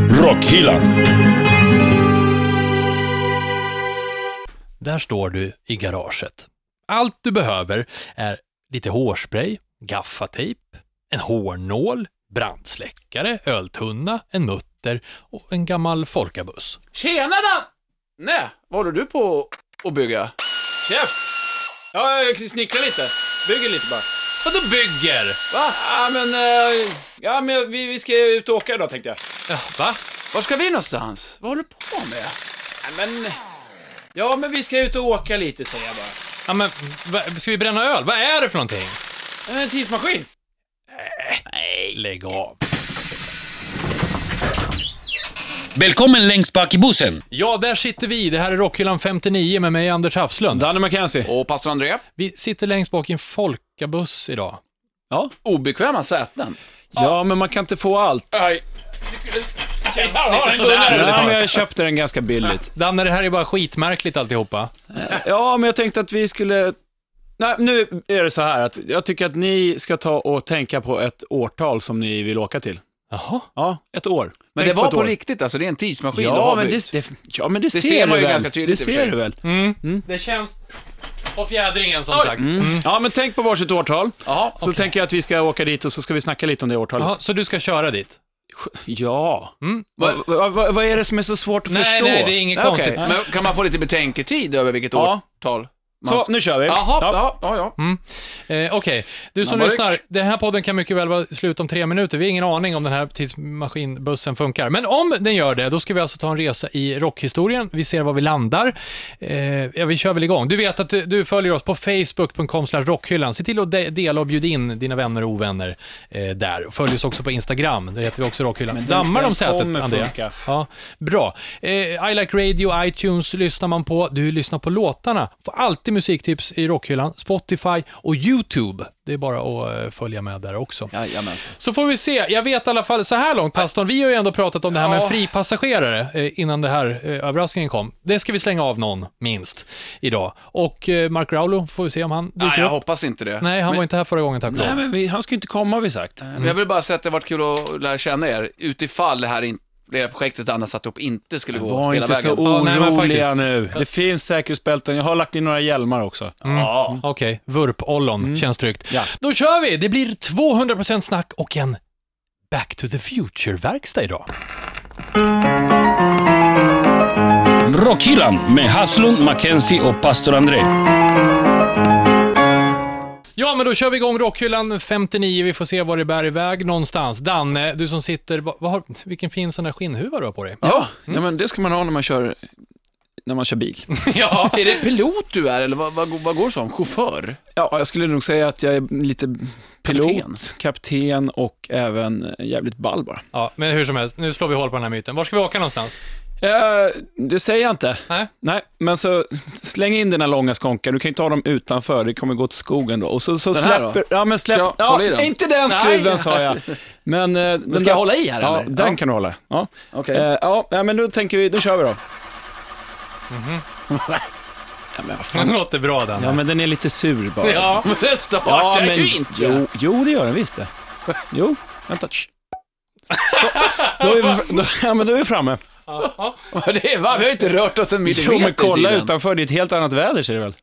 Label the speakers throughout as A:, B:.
A: Rockhyllan.
B: Där står du i garaget. Allt du behöver är lite hårspray, gaffatejp, en hårnål, brandsläckare, öltunna, en mutter och en gammal folkabuss.
C: Tjena Dan! Nej, vad håller du på att bygga? Chef! Ja, jag snickrar lite. Bygger lite bara.
B: Vadå bygger?
C: Va? Ja, men, eh, ja, men vi, vi ska ut och åka idag tänkte jag.
B: Ja, va?
C: Var ska vi någonstans? Vad håller du på med? Ja, men... Ja, men vi ska ut och åka lite säger jag bara.
B: Ja, men, va, ska vi bränna öl? Vad är det för någonting?
C: Ja, En tidsmaskin.
B: Lägg av.
A: Välkommen längst bak i bussen.
B: Ja, där sitter vi. Det här är Rockhyllan 59 med mig, Anders Hafslund.
C: Danne McKenzie. Och pastor André.
B: Vi sitter längst bak i en folkabuss idag.
C: Ja. Obekväma säten. Ja, men man kan inte få allt. Nej.
B: Lite sådär.
C: jag köpte den ganska billigt.
B: Danne, det här är bara skitmärkligt alltihopa.
C: Ja, men jag tänkte att vi skulle... Nej, nu är det så här att jag tycker att ni ska ta och tänka på ett årtal som ni vill åka till.
B: Jaha.
C: Ja, ett år.
D: Men
C: Tänk
D: det var
C: ett
D: på
C: år.
D: riktigt alltså, det är en tidsmaskin du
C: Ja,
D: har
C: men
D: byggt.
C: det, det, ja, men det, ser,
D: ser man
C: du
D: ju
C: väl.
D: ganska tydligt
C: Det
D: i och för
C: ser
D: sig.
C: du väl.
B: Det känns... Och fjädringen, som sagt.
C: Ja, men tänk på varsitt årtal.
D: Jaha,
C: Så tänker jag att vi ska åka dit och så ska vi snacka lite om det årtalet.
B: Jaha, så du ska köra dit?
C: Ja. Va- va- va- Vad är det som är så svårt att
B: Nej,
C: förstå?
B: nej, det är inget
D: Ja, okej.
B: konstigt.
D: Men kan man få lite betänketid över vilket
C: Ja.
D: årtal? Man...
C: Så, nu kör vi.
D: Jaha,
C: Ja. Mm,
D: ja, ja, ja.
B: Eh, Okej, du som
D: Snabbare.
B: lyssnar, den här podden kan mycket väl vara slut om tre minuter. Vi har ingen aning om den här tidsmaskinbussen funkar. Men om den gör det, då ska vi alltså ta en resa i rockhistorien. Vi ser var vi landar. Eh, ja, vi kör väl igång. Du vet att du, du följer oss på facebook.com slash rockhyllan. Se till att de- dela och bjud in dina vänner och ovänner eh, där. Och Följ oss också på Instagram, där heter vi också rockhyllan. Dammar de sätet,
C: kommer
B: Andrea?
C: funka.
B: Ja, bra. Eh, I like radio, iTunes lyssnar man på. Du lyssnar på låtarna. Får alltid musiktips i rockhyllan, Spotify och YouTube. Det är bara att eh, följa med där också.
D: Jajamensan.
B: Så får vi se. Jag vet i alla fall så här långt, pastorn, vi har ju ändå pratat om det här med en fripassagerare eh, innan det här eh, överraskningen kom. Det ska vi slänga av någon, minst, idag. Och eh, Mark Raulo, får vi se om han dyker
D: Nej, jag
B: upp.
D: hoppas inte det.
B: Nej, han
D: men,
B: var inte här förra gången, tack och
C: Nej,
B: lov.
C: men vi, han ska ju inte komma har vi sagt.
D: men Jag vill bara säga att det har varit kul att lära känna er, utifall det här, in... det här projektet Anna satt upp inte skulle gå
C: Var
D: hela
C: inte så
D: vägen.
B: Ja, nej, men
C: oroliga
B: faktiskt.
C: nu. Det finns säkerhetsbälten. Jag har lagt in några hjälmar också.
D: Ja.
B: Okej, vurpollon
D: Mm.
B: känns tryggt.
C: Ja.
B: Då kör vi! Det blir 200% snack och en Back to the Future-verkstad idag.
A: Rockhyllan med Haslund, Mackenzie och pastor André.
B: Ja, men då kör vi igång Rockhyllan 59. Vi får se var det bär iväg någonstans. Danne, du som sitter... Vad, vad har, vilken fin sån där skinnhuva du har på dig.
C: Ja, nej, men det ska man ha när man kör, när man kör bil.
B: ja.
D: Är det pilot du är, eller vad, vad, vad går det som? Chaufför?
C: Ja, jag skulle nog säga att jag är lite pilot,
D: Kapten.
C: kapten, och även jävligt ball bara.
B: ja, men hur som helst, nu slår vi hål på den här myten. Var ska vi åka någonstans?
C: Eh, det säger jag inte.
B: Nej?
C: Nej, men så släng in dina långa skånkar. Du kan ju ta dem utanför, det kommer gå till skogen då. Och så, så
D: Den här då?
C: släpper... Ja, men släpp...
D: Ska jag
C: ja,
D: hålla i den?
C: inte den
B: Nej.
C: skruven sa jag. Men, eh, den
D: ska
C: där-
D: jag hålla i här,
C: Ja,
D: eller?
C: den
D: Ja.
C: kan du hålla i. Ja.
D: Okej.
C: Eh, ja, ja, men då tänker vi, då kör vi då.
B: Den låter bra, Danne.
C: Ja, men den är lite sur bara.
B: Ja.
D: Men det startar
C: men,
D: ju inte!
C: Jo, jo, det gör den visst det. Jo, vänta. Shh. Så, då, är vi, fr- då, ja, men då är vi framme.
D: Det är va? Vi har ju inte rört oss en millimeter
C: Jo, men kolla
D: i tiden.
C: utanför, det är ett helt annat väder ser det väl?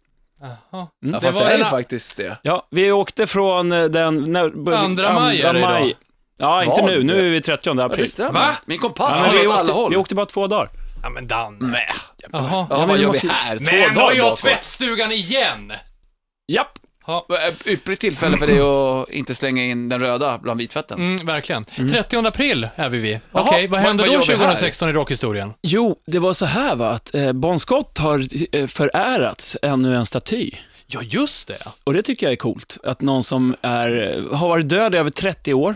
B: Jaha.
D: Ja, fast det,
B: var
D: är ju
B: den-
D: faktiskt det.
C: Ja, vi åkte från eh, den... När, bör-
B: Andra maj är det idag.
C: Ja, inte
D: Var
C: nu. Nu
D: det?
C: är vi 30
D: Ja,
C: april.
D: det stämmer.
B: Va?
D: Min kompass
C: Ja,
D: har
C: men vi,
D: åt alla
C: åkte,
D: håll.
C: vi åkte bara två dagar.
B: Ja, men Danne.
D: Mäh.
B: Jaha.
D: Mm. Ja,
C: men
D: vad
C: vi
D: gör
C: måste-
D: vi här? Två
B: Men har
D: dagar alltså.
B: jag
D: bakåt.
B: tvättstugan igen!
C: Japp.
D: Ett Ypperligt tillfälle för dig att inte slänga in den röda bland vitfetten.
B: Mm, verkligen. 30 april är vi vid.
D: Jaha,
B: Okej, vad
D: vad-
B: hände
D: vad
B: då
D: gör vi här?
B: 2016 i rockhistorien?
C: Jo, det var så här va, att eh, Bon Scott har eh, förärats ännu en staty.
B: Ja, just det.
C: Och det tycker jag är coolt, att någon som är, eh, har varit död i över 30 år,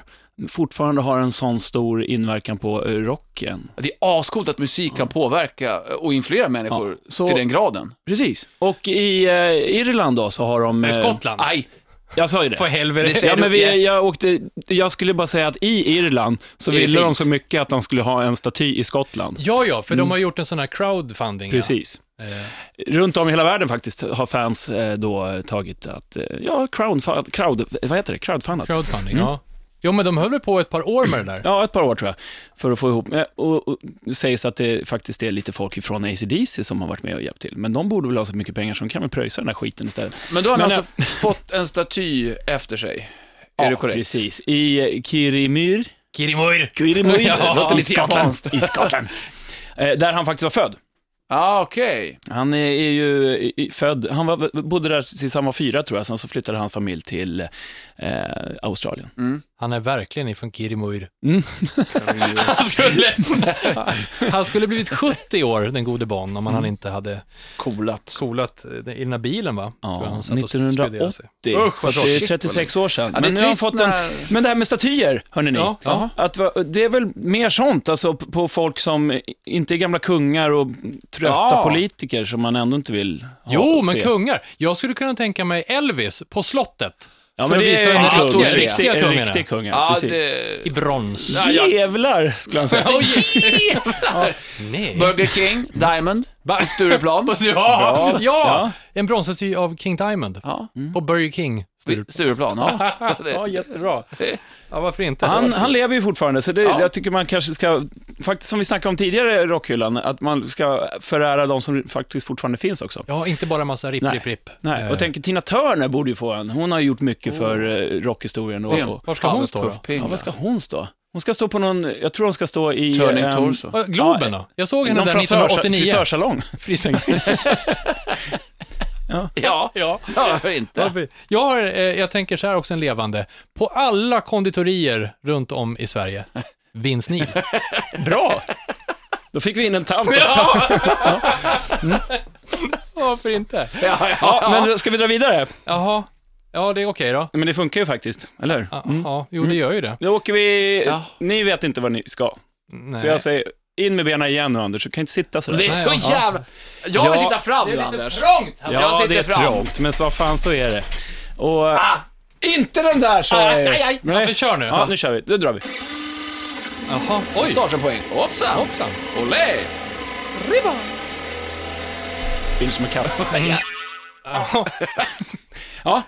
C: fortfarande har en sån stor inverkan på eh, rocken.
D: Det är ascoolt att musik kan påverka och influera människor
C: Ja, så-
D: till den graden.
C: Precis. Och i eh, Irland då så har de... eh,
B: Skottland.
D: Aj,
C: Jag sa ju det.
B: För helvete.
C: Ja, men
D: Yeah.
C: vi, jag, åkte, jag skulle bara säga att i Irland så
D: Är det
C: ville de
D: fint?
C: så mycket att de skulle ha en staty i Skottland.
B: Ja, ja, för de har gjort en sån här crowdfunding. ja.
C: Mm. Precis. Runt om i hela världen faktiskt har fans eh, då tagit att, eh, ja, crowdfund, crowd, vad heter det? crowdfundat.
B: Crowdfunding, ja. Jo, men de höll väl på ett par år med det där.
C: Ja, ett par år tror jag, för att få ihop. Men- Och, och det sägs att det faktiskt är lite folk ifrån ACDC som har varit med och hjälpt till. Men de borde väl ha så mycket pengar så de kan väl pröjsa den här skiten istället.
D: Men då har han
C: Men,
D: alltså fått en staty efter sig. är det korrekt?
C: precis. I eh, Kirimyr.
B: Kirimoir!
C: Kirimyr,
D: Ja,
C: låter
D: i
C: lite japanskt.
D: Skottland.
C: I Skottland. Eh, Där han faktiskt var född.
D: Ja, okej.
C: Han är är ju i- i- född, han var, bodde där tills han var fyra tror jag, sen så flyttade hans familj till eh, Australien.
B: Mm, Han är verkligen ifrån Kirimoir.
C: Mm.
B: Han skulle, han skulle blivit 70 år, den gode Bon, om
C: Mm.
B: han inte hade
D: Coolat.
B: coolat eh, i den här bilen, va? Tror jag
C: Ja,
B: han satt och spekulerade
C: 1980.
B: sig.
D: Usch,
C: så
D: vad
C: att det är
D: shit,
C: 36 år sedan.
D: Ja, det är
C: men, nu har han
D: trist
C: fått en,
D: när-
C: men det här med statyer, hörni ni.
B: Ja, ja.
C: Att, va- det är väl mer sånt, alltså p- på folk som inte är gamla kungar och trötta
D: Ja.
C: politiker som man ändå inte vill ha
B: Jo,
C: och
B: men
C: se.
B: kungar. Jag skulle kunna tänka mig Elvis på slottet.
C: Ja,
B: För
C: men
B: att
C: det
B: visa
C: är
B: hur
C: en
D: en
B: riktiga-
C: kung.
D: är det.
B: riktiga
C: En
B: kungar är.
C: riktig kung, ja.
D: Ja,
C: Precis.
B: I
D: det...
B: brons.
D: Ja, jag-
C: Jävlar, skulle han säga.
B: Nej.
D: Burger King, Diamond,
B: Va?
D: Stureplan.
B: Ja, Mm. ja.
C: Ja.
B: En bronsstaty av King Diamond
D: Ja,
B: på Burger King.
D: Stureplan. Ja.
C: Ja, jättebra.
B: Ja, varför inte?
C: Han, han lever ju fortfarande, så det,
D: Ja.
C: jag tycker man kanske ska, faktiskt som vi snackade om tidigare i rockhyllan, att man ska förära de som faktiskt fortfarande finns också.
B: Ja, inte bara massa ripp,
C: Nej.
B: ripp, ripp.
C: Nej, och
B: Eh,
C: jag tänker Tina Turner borde ju få en. Hon har ju gjort mycket för eh, rockhistorien. Och,
D: Ja.
C: och,
B: Var ska hon stå då?
C: ja, vad ska hon stå? Hon ska stå på någon, jag tror hon ska stå i...
D: Turning
C: ehm,
D: torso.
B: Vad- Globen då? Jag såg henne
C: Någon
B: där
C: frisörs-
B: 1989.
C: frisörsalong.
B: Frisör.
D: Ja,
B: ja.
D: ja, varför inte?
B: Varför? Jag, har, eh, jag tänker så här också en levande. På alla konditorier runt om i Sverige, Vince Neil.
C: Bra! Då fick vi in en tant också. Ja.
B: Varför inte?
D: Ja, ja.
C: Men ska vi dra vidare?
B: Jaha, ja det är okej då.
C: Men det funkar ju faktiskt, eller hur?
B: Ja, ja, jo det gör ju det.
C: Då åker vi...
D: Ja.
C: Ni vet inte vad ni ska.
B: Nej.
C: Så jag säger, in med benen igen nu Anders, du kan inte sitta sådär.
D: Det är så
B: Nej, ja.
D: jävla... Jag vill
C: Ja.
D: sitta fram nu, Anders.
B: trångt!
C: ja,
D: jag sitter
C: det är
D: fram.
C: trångt, men vad fan så är det. Och... Inte den där sa jag
D: Aj, aj, aj.
B: Ja, vi kör nu.
C: Ja, nu kör vi. Då drar vi.
B: Jaha, oj.
D: Startar poäng. Hoppsan!
B: Hoppsan.
D: Olé!
C: Spill som en katt.
B: Mm. Jaha,
C: Ja,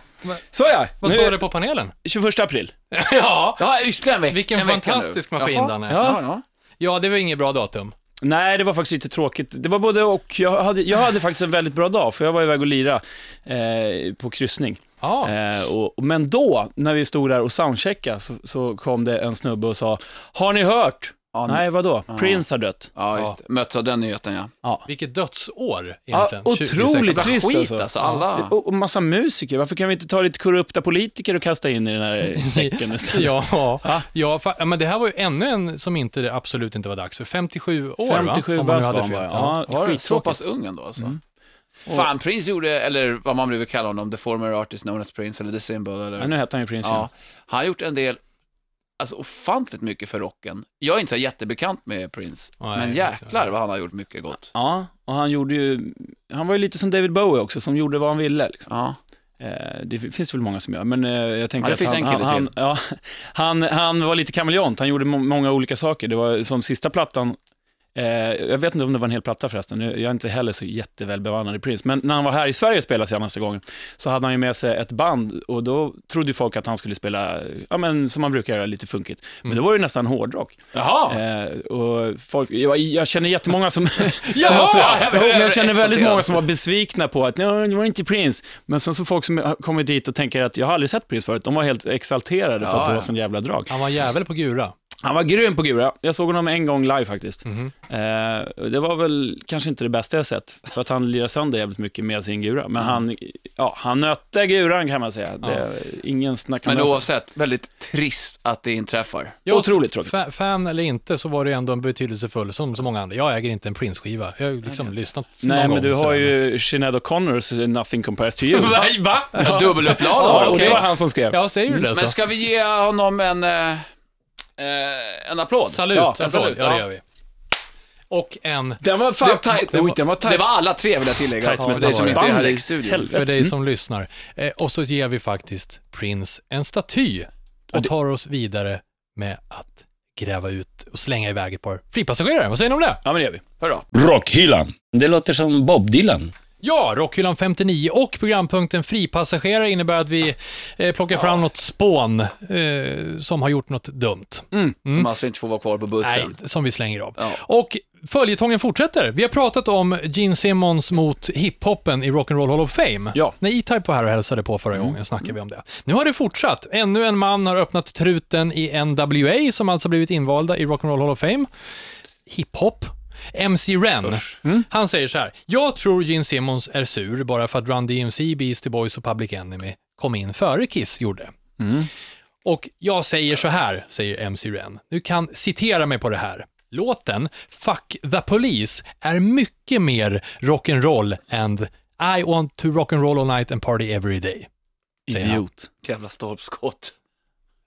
C: så ja.
B: Vad
C: nu,
B: står det på panelen?
C: 21 april.
B: ja,
D: Ja, ytterligare en vecka.
B: vilken
D: en vecka
B: fantastisk
D: nu.
B: maskin
D: Jaha.
B: den är.
D: Ja, ja.
B: Ja, det var inget bra datum.
C: Nej, det var faktiskt lite tråkigt. Det var både och. Jag hade, jag hade faktiskt en väldigt bra dag, för jag var iväg och lira eh, på kryssning.
B: Ja,
C: Eh, och, men då, när vi stod där och soundcheckade, så, så kom det en snubbe och sa, har ni hört?
D: Ja, nu-
C: Nej, vadå? Prince har dött.
D: Ja, just det. Möts av den nyheten, ja.
B: vilket dödsår
C: Ja,
B: egentligen. 26.
C: otroligt trist
D: Skit
C: alltså.
D: alltså, alla...
C: Och och massa musiker, varför kan vi inte ta lite korrupta politiker och kasta in i den här säcken istället?
B: Ja, ja, fa- ja, men det här var ju ännu en som inte, det absolut inte var dags för. 57 år, va?
C: 57
B: Om man nu
C: bast
B: hade
C: var han
B: fyllt,
C: bara.
B: ja.
C: Ja,
D: Var det så
C: skittråkigt.
D: pass ung ändå alltså? Fan, Prince gjorde, eller vad man nu vill kalla honom, the former artist known as Prince eller the symbol eller...
C: Ja, nu heter han ju Prince
D: ja. Han har gjort en del, alltså ofantligt mycket för rocken. Jag är inte så jättebekant med Prince,
B: Nej,
D: men
B: inte jag.
D: jäklar vad han har gjort mycket gott.
C: Ja, och han gjorde ju, han var ju lite som David Bowie också, som gjorde vad han ville. Liksom.
D: Ja.
C: Eh, det finns väl många som gör, men eh, jag
D: Ja,
C: tänker
D: det
C: att
D: finns
C: han,
D: en kille
C: han, han, ja, han, han var lite kameleont, han gjorde må- många olika saker. Det var som sista plattan, eh, jag vet inte om det var en hel platta förresten, Nu- jag är inte heller så jätteväl bevandrad i Prince, men när han var här i Sverige och spelade senaste gången, så hade han ju med sig ett band och då trodde ju folk att han skulle spela, ja men som man brukar göra, lite funkigt.
D: Mm.
C: Men då var det ju nästan hårdrock.
D: Jaha!
C: Eh, och folk, jag, jag känner jättemånga som... som
D: Ja,
C: var så,
D: jag blev
C: Jo, men jag känner väldigt
D: exalterad.
C: många som var besvikna på att "Nej, det var inte Prince. Men sen så folk som har kommit dit och tänker att jag har aldrig sett Prince förut, de var helt exalterade för
D: Ja,
C: att det
D: ja.
C: var sån jävla drag.
B: Han var jävel på Gura.
C: Han var grym på Gura. Jag såg honom en gång live faktiskt. Eh, det var väl kanske inte det bästa jag sett, för att han lirade sönder jävligt mycket med sin Gura. Men han, ja, han nötte Guran kan man säga. Det, ingen snackar
D: Men
C: om det. Alltså,
D: oavsett, väldigt trist att det inträffar.
B: Ja,
C: Otroligt tråkigt.
B: fa- Fan eller inte så var det ändå en betydelsefull, som så många andra. Jag äger inte en Prince-skiva. Jag har ju liksom lyssnat
C: Nej,
B: någon
C: men du
B: gång
C: har
B: sådär.
C: ju Sinéad O'Connors eh, Nothing Compares To You.
B: Va?
D: Ja. Dubbelupplaga,
C: Ja, och
D: okej.
C: det var han som skrev.
B: Ja, säger du det så?
D: Men ska vi ge honom en, eh, eh, en applåd?
B: Salut,
D: Ja,
B: ja,
D: en
B: Salut. ja,
D: ja.
B: det gör vi. Och en,
C: Den var fan tajt. Oj, den var
D: Det
C: tajt.
D: var alla tre vill jag tillägga,
C: Tajt som
D: för
C: ett
D: dig som inte är här i
C: spandex.
D: studion.
C: Helvete.
B: för dig som lyssnar. Eh, och så ger vi faktiskt Prince en staty och tar oss vidare med att gräva ut och slänga iväg ett par fripassagerare. Vad säger ni om det?
C: Ja, men det gör vi.
D: Hurra.
A: Rockhyllan. Det låter som Bob Dylan.
B: Ja, Rockhyllan 59 och programpunkten Fripassagerare innebär att vi eh, plockar fram något spån eh, som har gjort något dumt.
D: Som alltså inte får vara kvar på bussen.
B: Nej, som vi slänger av.
D: Ja.
B: Och följetongen fortsätter. Vi har pratat om Gene Simmons mot hiphopen i Rock'n'Roll Hall of Fame.
C: Ja.
B: När E-Type var här och hälsade på
D: Mm.
B: förra gången snackade vi om det. Nu har det fortsatt. Ännu en man har öppnat truten i NWA, som alltså blivit invalda i Rock'n'Roll Hall of Fame. Hiphop. MC Ren.
D: Mm.
B: Han säger så här. Jag tror Gene Simmons är sur bara för att Run DMC, Beastie Boys och Public Enemy kom in före Kiss gjorde. Och jag säger så här, säger MC Ren. Du kan citera mig på det här. Låten Fuck the Police är mycket mer rock'n'roll and I want to rock'n'roll all night and party every day. Säger han.
C: Idiot.
D: Jävla stolpskott.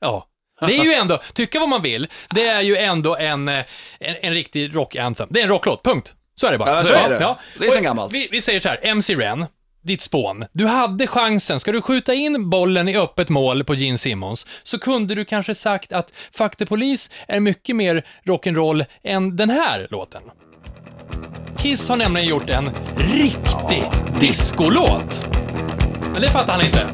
B: Ja. Det är ju ändå, tycka vad man vill, det är ju ändå en, eh, en, en riktig rock-anthem. Det är en rocklåt, punkt. Så är det bara.
D: Ja, så är det. Det är
B: Och
D: sen gammalt.
B: Vi, vi säger så här, MC Ren, ditt spån. Du hade chansen. Ska du skjuta in bollen i öppet mål på Gene Simmons, så kunde du kanske sagt att Fuck the Police är mycket mer rock'n'roll än den här låten. Kiss har nämligen gjort en riktig discolåt. Men det fattar han inte.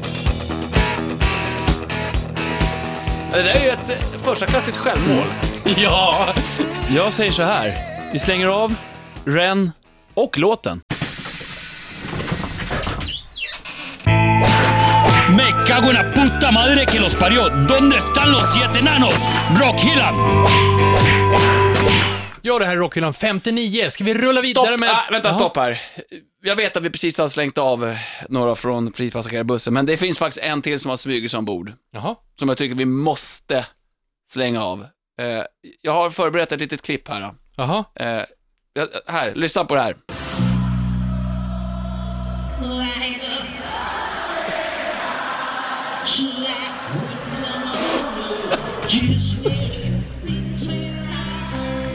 D: Det där är ju ett eh, förstaklassigt självmål.
B: Ja,
C: Jag säger så här. Vi slänger av Ren och låten.
A: Me cago en la puta madre que los parió. ¿Dónde están los siete enanos? Rockhyllan!
B: gör det här i Rockhyllan 59. Ska vi rulla vidare med...
D: ah, vänta,
B: Jaha.
D: stopp här. Jag vet att vi precis har slängt av eh, några från fripassagerarbussen, men det finns faktiskt en till som har smugits ombord,
B: Jaha.
D: som jag tycker vi måste slänga av. Eh, jag har förberett ett litet klipp här.
B: Jaha.
D: Eh, ja, här, lyssna på det här.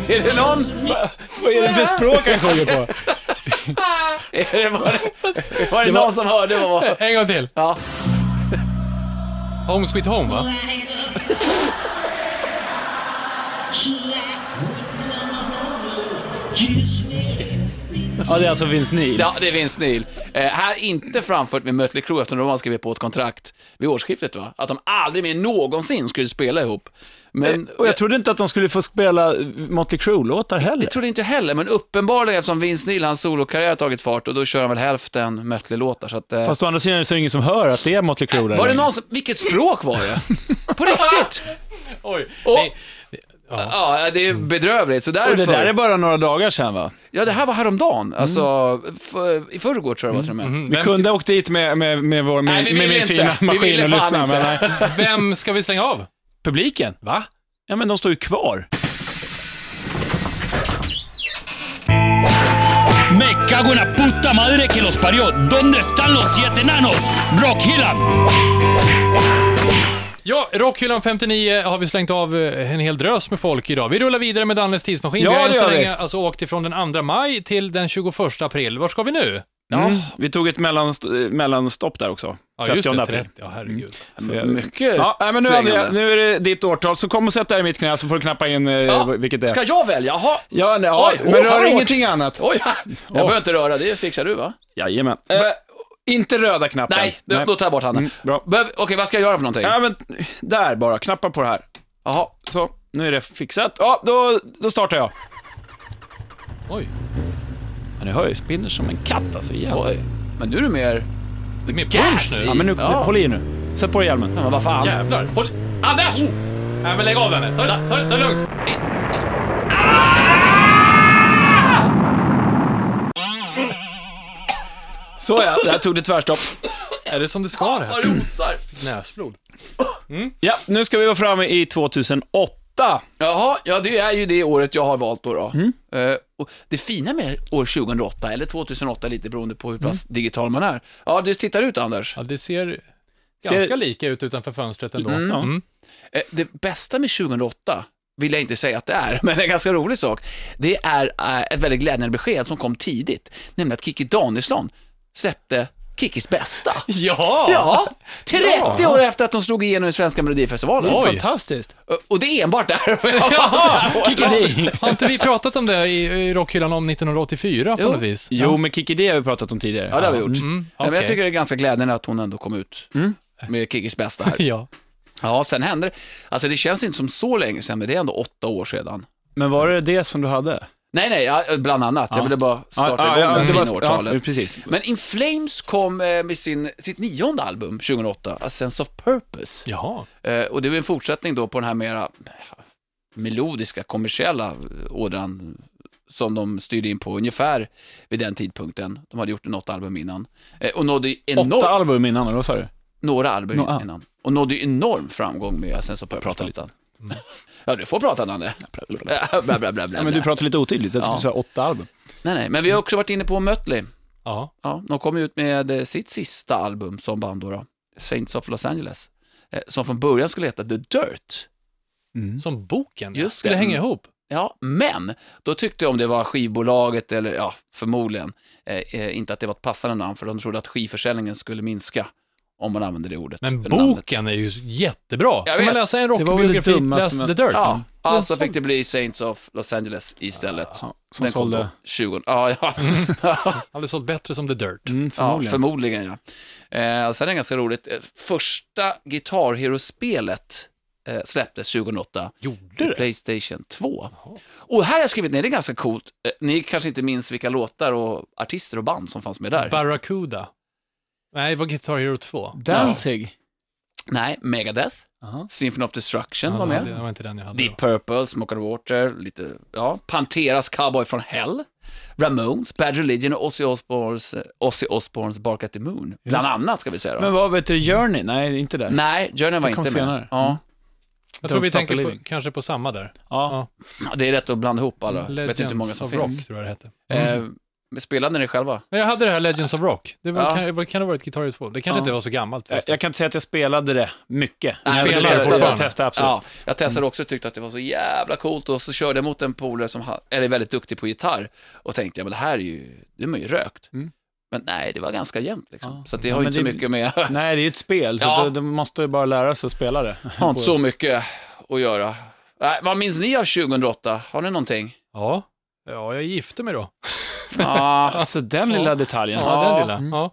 D: Är det någon?
C: Vad är det för språk han sjunger på?
D: Är det var, det, var det någon som hörde vad var?
B: En gång till.
D: Ja.
B: Home Sweet Home, va?
C: Ja, det är alltså Vince Neil.
D: Ja, det är Vince Neil. Eh, här inte framfört med Mötley Crüe eftersom de har skrivit på ett kontrakt vid årsskiftet va? Att de aldrig mer någonsin skulle spela ihop. Men,
C: Eh, Och jag trodde inte att de skulle få spela Motley Crue-låtar heller.
D: jag trodde inte heller, men uppenbarligen eftersom Vince Neil, hans solokarriär har tagit fart och då kör han väl hälften Mötley-låtar. Så att, eh,
C: Fast å andra sidan är det så ingen som hör att det är Motley Crue där
D: var det
C: längre.
D: någon som, vilket språk var det? På riktigt?
B: Oj.
D: Och-
B: Nej.
D: Ja, det är bedrövligt, så
C: Mm. Och det
D: därför.
C: där är bara Mm. några dagar sedan va?
D: Ja, det här var häromdagen, alltså f- i förrgår tror jag det var till och med.
C: Vi kunde ha åkt dit med, med, med, vår, med,
D: Nej, vi
C: med
D: ville
C: min
D: inte.
C: fina
D: Vi ville
C: maskin och
D: fan
C: lyssna.
D: inte.
C: Men, nej.
B: Vem ska vi slänga av?
C: Publiken?
B: Va?
C: Ja, men de står ju kvar.
A: Me cago en la puta madre que los parió. ¿Dónde están los siete enanos? Rockhyllan!
B: Ja, Rockhyllan 59 har vi slängt av eh, en hel drös med folk idag. Vi rullar vidare med Dannes tidsmaskin.
C: Ja,
B: vi har än
C: det
B: så
C: gör vi.
B: länge alltså åkt ifrån den 2 maj till den 21 april. Var ska vi nu?
C: Ja, Vi tog ett mellanst eh, mellanstopp där också.
B: Ja, just
C: 30
B: det.
C: april. Mm.
B: 30. Ja, herregud.
C: Så-
D: Mycket
C: Ja, nej, men nu,
D: svängande.
C: Andrea, nu är det ditt årtal, så kom och sätt dig i mitt knä så får du knappa in eh, vilket det är.
D: Ska jag välja? Jaha.
C: Ja, nej, ja,
D: Oj,
C: men
D: oh,
C: rör
D: hårt.
C: ingenting annat.
D: Oj, jag behöver inte röra, det fixar du va?
C: Jajamän. Eh, inte röda knappen.
D: Nej, då, då tar jag bort handen.
C: Mm, bra.
D: Behöv, okej, vad ska jag göra för någonting?
C: Ja, men där bara. Knappa på det här.
D: Jaha.
C: Så, nu är det fixat. Ja, då, då startar jag.
B: Oj.
C: Men ni hör ju, spinner som en katt alltså. Jävlar.
D: Oj. Men nu är du mer...
B: Det är mer
D: Gas
B: punch nu.
D: i.
C: Ja, men nu,
D: Ja.
C: håll i nu. Sätt på dig hjälmen.
D: Ja, men vad fan.
B: Jävlar. Håll... Anders! Nej, men lägg av henne. Ta, ta, ta, ta det lugnt.
C: Så ja, där tog det tvärstopp.
B: Är det som det ska det här?
D: Vad rosar.
B: Näsblod.
C: Ja, nu ska vi vara framme i 2008.
D: Jaha, ja det är ju det året jag har valt då. då.
C: Mm.
D: Eh, och det fina med år 2008, eller 2008 lite beroende på hur pass
C: Mm.
D: digital man är. Ja, du tittar ut Anders.
B: Ja, det ser
C: Ser-
B: ganska lika ut utanför fönstret ändå. Mm.
C: Ja.
D: Eh, det bästa med 2008, vill jag inte säga att det är, men en ganska rolig sak, det är eh, ett väldigt glädjande besked som kom tidigt, nämligen att Kikki Danielsson släppte Kickis bästa.
B: Ja!
D: Ja, 30 år efter att de slog igenom i svenska melodifestivalen.
C: Det är
B: Oj.
C: Fantastiskt.
D: Och det är enbart därför jag
B: Ja,
D: valt det här året.
C: Kikki D.
B: Har inte vi pratat om det i, i rockhyllan om 1984 på
D: Jo.
B: något vis?
C: Jo, men Kikki D har vi pratat om tidigare.
D: Ja, det har vi gjort. Nej, men
B: okej.
D: jag tycker det är ganska glädjande att hon ändå kom ut med Kickis bästa här.
B: Ja.
D: Ja, sen hände det. Alltså det känns inte som så länge sedan, men det är ändå åtta år sedan.
C: Men var det det som du hade?
D: Nej, nej, ja, bland annat. Jag ville bara starta
C: Ja, ja,
D: igång
C: ja,
D: det
C: det
D: fina
C: var-
D: årtalet.
C: ja, precis.
D: Men In Flames kom eh, med sin, sitt nionde album 2008, A Sense of Purpose.
B: Jaha.
D: Eh, och det är en fortsättning då på den här mera eh, melodiska, kommersiella eh, ådran som de styrde in på ungefär vid den tidpunkten. De hade gjort något album innan. Eh, och nådde enorm,
C: Åtta album innan, eller vad sa du?
D: några album
C: Nå- ah.
D: innan. Och nådde enorm framgång med A Sense of Purpose. Prata lite. ja, du får prata Nanne. Bla, bla, bla, bla, bla.
C: Ja, men du pratar lite otydligt, jag
D: Ja.
C: skulle säga åtta album.
D: Nej, nej, men vi har också varit inne på Mötley.
B: Ja.
D: Ja, de kom ut med eh, sitt sista album som band då, då Saints of Los Angeles, eh, som från början skulle heta The Dirt.
B: Som boken,
D: Just
B: Skulle
D: det.
B: hänga ihop.
D: Ja, men då tyckte jag om det var skivbolaget eller ja, förmodligen eh, eh, inte att det var ett passande namn för de trodde att skivförsäljningen skulle minska om man använde det ordet.
B: Men
D: eller namnet.
B: boken är ju jättebra.
D: Jag
B: Som att
D: vet.
B: läsa en
C: Det var väl det
B: rockbiografi,
C: dummaste
B: läs The
C: man-
B: Dirt.
D: Ja, alltså
B: Men
D: fick det bli Saints of Los Angeles istället.
C: Ja, som
D: Den kom
C: sålde.
D: på 20... Ja, ja.
B: Aldrig sålt bättre som The Dirt.
C: Mm,
D: Ja,
C: förmodligen.
D: förmodligen ja. Eh, sen är det ganska roligt, eh, första Guitar Hero-spelet eh, släpptes 2008
B: Gjorde
D: till
B: det?
D: Playstation 2. Och här har jag skrivit ner, det är ganska coolt, eh, ni kanske inte minns vilka låtar och artister och band som fanns med där.
B: Barracuda. Nej, det var Guitar Hero 2.
C: Danzig.
D: Nej, Megadeth,
C: Jaha.
D: Symphony of Destruction
B: Ja,
D: var
B: det
D: med.
B: hade- det var inte den jag hade.
D: Deep
B: då.
D: Purple, Smoke and Water, lite, ja, Panteras Cowboy from Hell, Ramones, Bad Religion och Ozzy Osbournes, eh, Ozzy Osbournes Bark at the Moon. Bland annat ska vi säga då.
C: Men vad vet du, Journey? Nej, inte där.
D: Nej, Journey var
C: Det
D: inte
C: kom
D: med.
C: senare. Mm.
D: Ja.
B: Jag tror
C: Don't
B: vi
C: Stop
B: tänker på,
C: Believing.
B: kanske på samma där.
C: Ja.
D: Ja, Det är rätt att blanda ihop alla. Jag vet inte hur många
B: Legends
D: som
B: of
D: finns.
B: Rock, tror jag det hette.
D: Eh,
C: Mm.
D: men spelade ni själva?
B: Men Jag hade det här Legends of Rock. Det var,
D: Ja.
B: kan, vad kan det ha varit Guitar Hero 2. Det kanske
D: Ja. Eh,
B: inte var så gammalt.
C: Jag,
B: förresten.
C: jag kan inte säga att jag spelade det mycket.
D: Nej, men
C: jag spelade
D: det är
C: det,
D: fortfarande.
C: jag testade absolut.
D: Ja, jag
C: Mm.
D: testade också och tyckte att det var så jävla coolt och så körde jag mot en polare som ha- är väldigt duktig på gitarr och tänkte, ja men det här är ju, det är man ju rökt.
C: Mm.
D: Men nej, det var ganska jämnt liksom.
C: Ja.
D: Så att det
C: Ja,
D: har ju
C: men
D: inte så
C: det-
D: mycket med,
C: Nej, det är ju ett spel, så
D: Ja.
C: ja. du måste ju bara lära sig att spela det.
D: har inte så mycket att göra. Nej, vad minns ni av 2008? Har ni någonting?
B: Ja. Ja, jag gifte mig då.
C: Ja, alltså den lilla detaljen.
B: Ja, den lilla.
D: Mm.
B: Ja.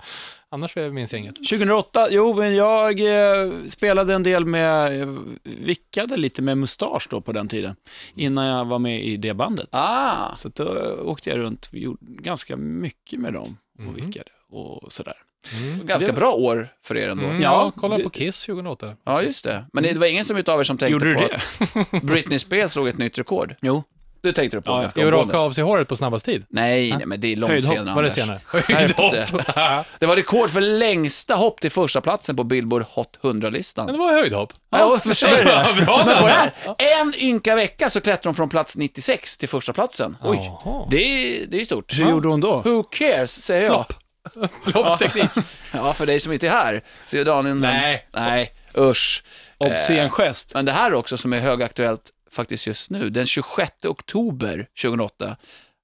B: Annars minns jag inget.
C: 2008, jo men jag eh, spelade en del med, eh, vickade lite med mustasch då på den tiden, innan jag var med i det bandet.
D: Ah,
C: Så att då eh, åkte jag runt, vi gjorde ganska mycket med dem och vickade och sådär.
D: ganska
C: det-
D: bra år för er ändå.
B: Mm, ja,
C: Ja,
B: kolla
C: det-
B: på Kiss 2008.
D: Ja, just det. Men det var ingen som utav er som tänkte
C: Gjorde du
D: på
C: det?
D: att Britney Spears slog ett nytt rekord?
C: Jo.
D: Du tänkte du på
C: Ja, ja.
D: ganska
B: Jag
D: omgående.
B: raka av sig håret på snabbast tid.
D: Nej, nej, men det är långt
C: Höjdhopp,
D: senare.
B: Var det
D: Anders.
B: senare?
D: Höjdhopp. Det var rekord för längsta hopp till första platsen på Billboard Hot
B: Men
D: 100-listan.
B: det var höjdhopp.
D: Ja, för sig.
B: bra
D: Men på det här, en ynka vecka så klättrar hon från plats 96 till första platsen. Oj,
B: Jaha.
D: det är, det är stort.
C: Hur gjorde hon då?
D: Who cares, säger jag.
B: Floppteknik.
D: Ja, för dig som inte är här, så är Daniel...
B: Nej.
D: Nej, usch.
C: Obscen gest.
D: Men det här också som är högaktuellt faktiskt just nu, den 26 oktober 2008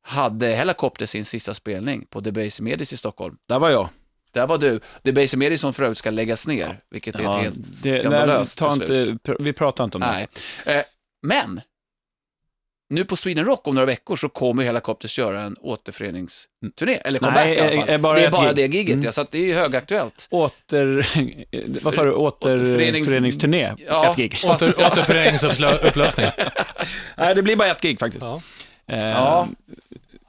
D: hade Helicopter sin sista spelning på Debaser Medis i Stockholm.
C: Där var jag.
D: Där var du. Debaser Medis som för övrigt ska läggas ner, vilket är ett
C: Ja,
D: helt
C: det, nej,
D: skandalöst
C: ta
D: beslut.
C: inte, pr- vi pratar inte om det.
D: Nej. Eh, men, nu på Sweden Rock om några veckor så kommer ju Helicopters göra en återföreningsturné, eller comeback
C: Nej,
D: i alla fall.
C: är- är bara
D: det är
C: ett
D: bara
C: gig.
D: det giget,
C: Mm.
D: ja, så att det är ju högaktuellt.
C: Åter... vad sa du?
D: återförenings-
C: Återföreningsturné?
D: Ja,
C: Ett gig.
D: fast-
B: Åter, återföreningsupplösning.
C: Nej, det blir bara ett gig faktiskt.
B: Ja.
C: Eh,
D: Ja,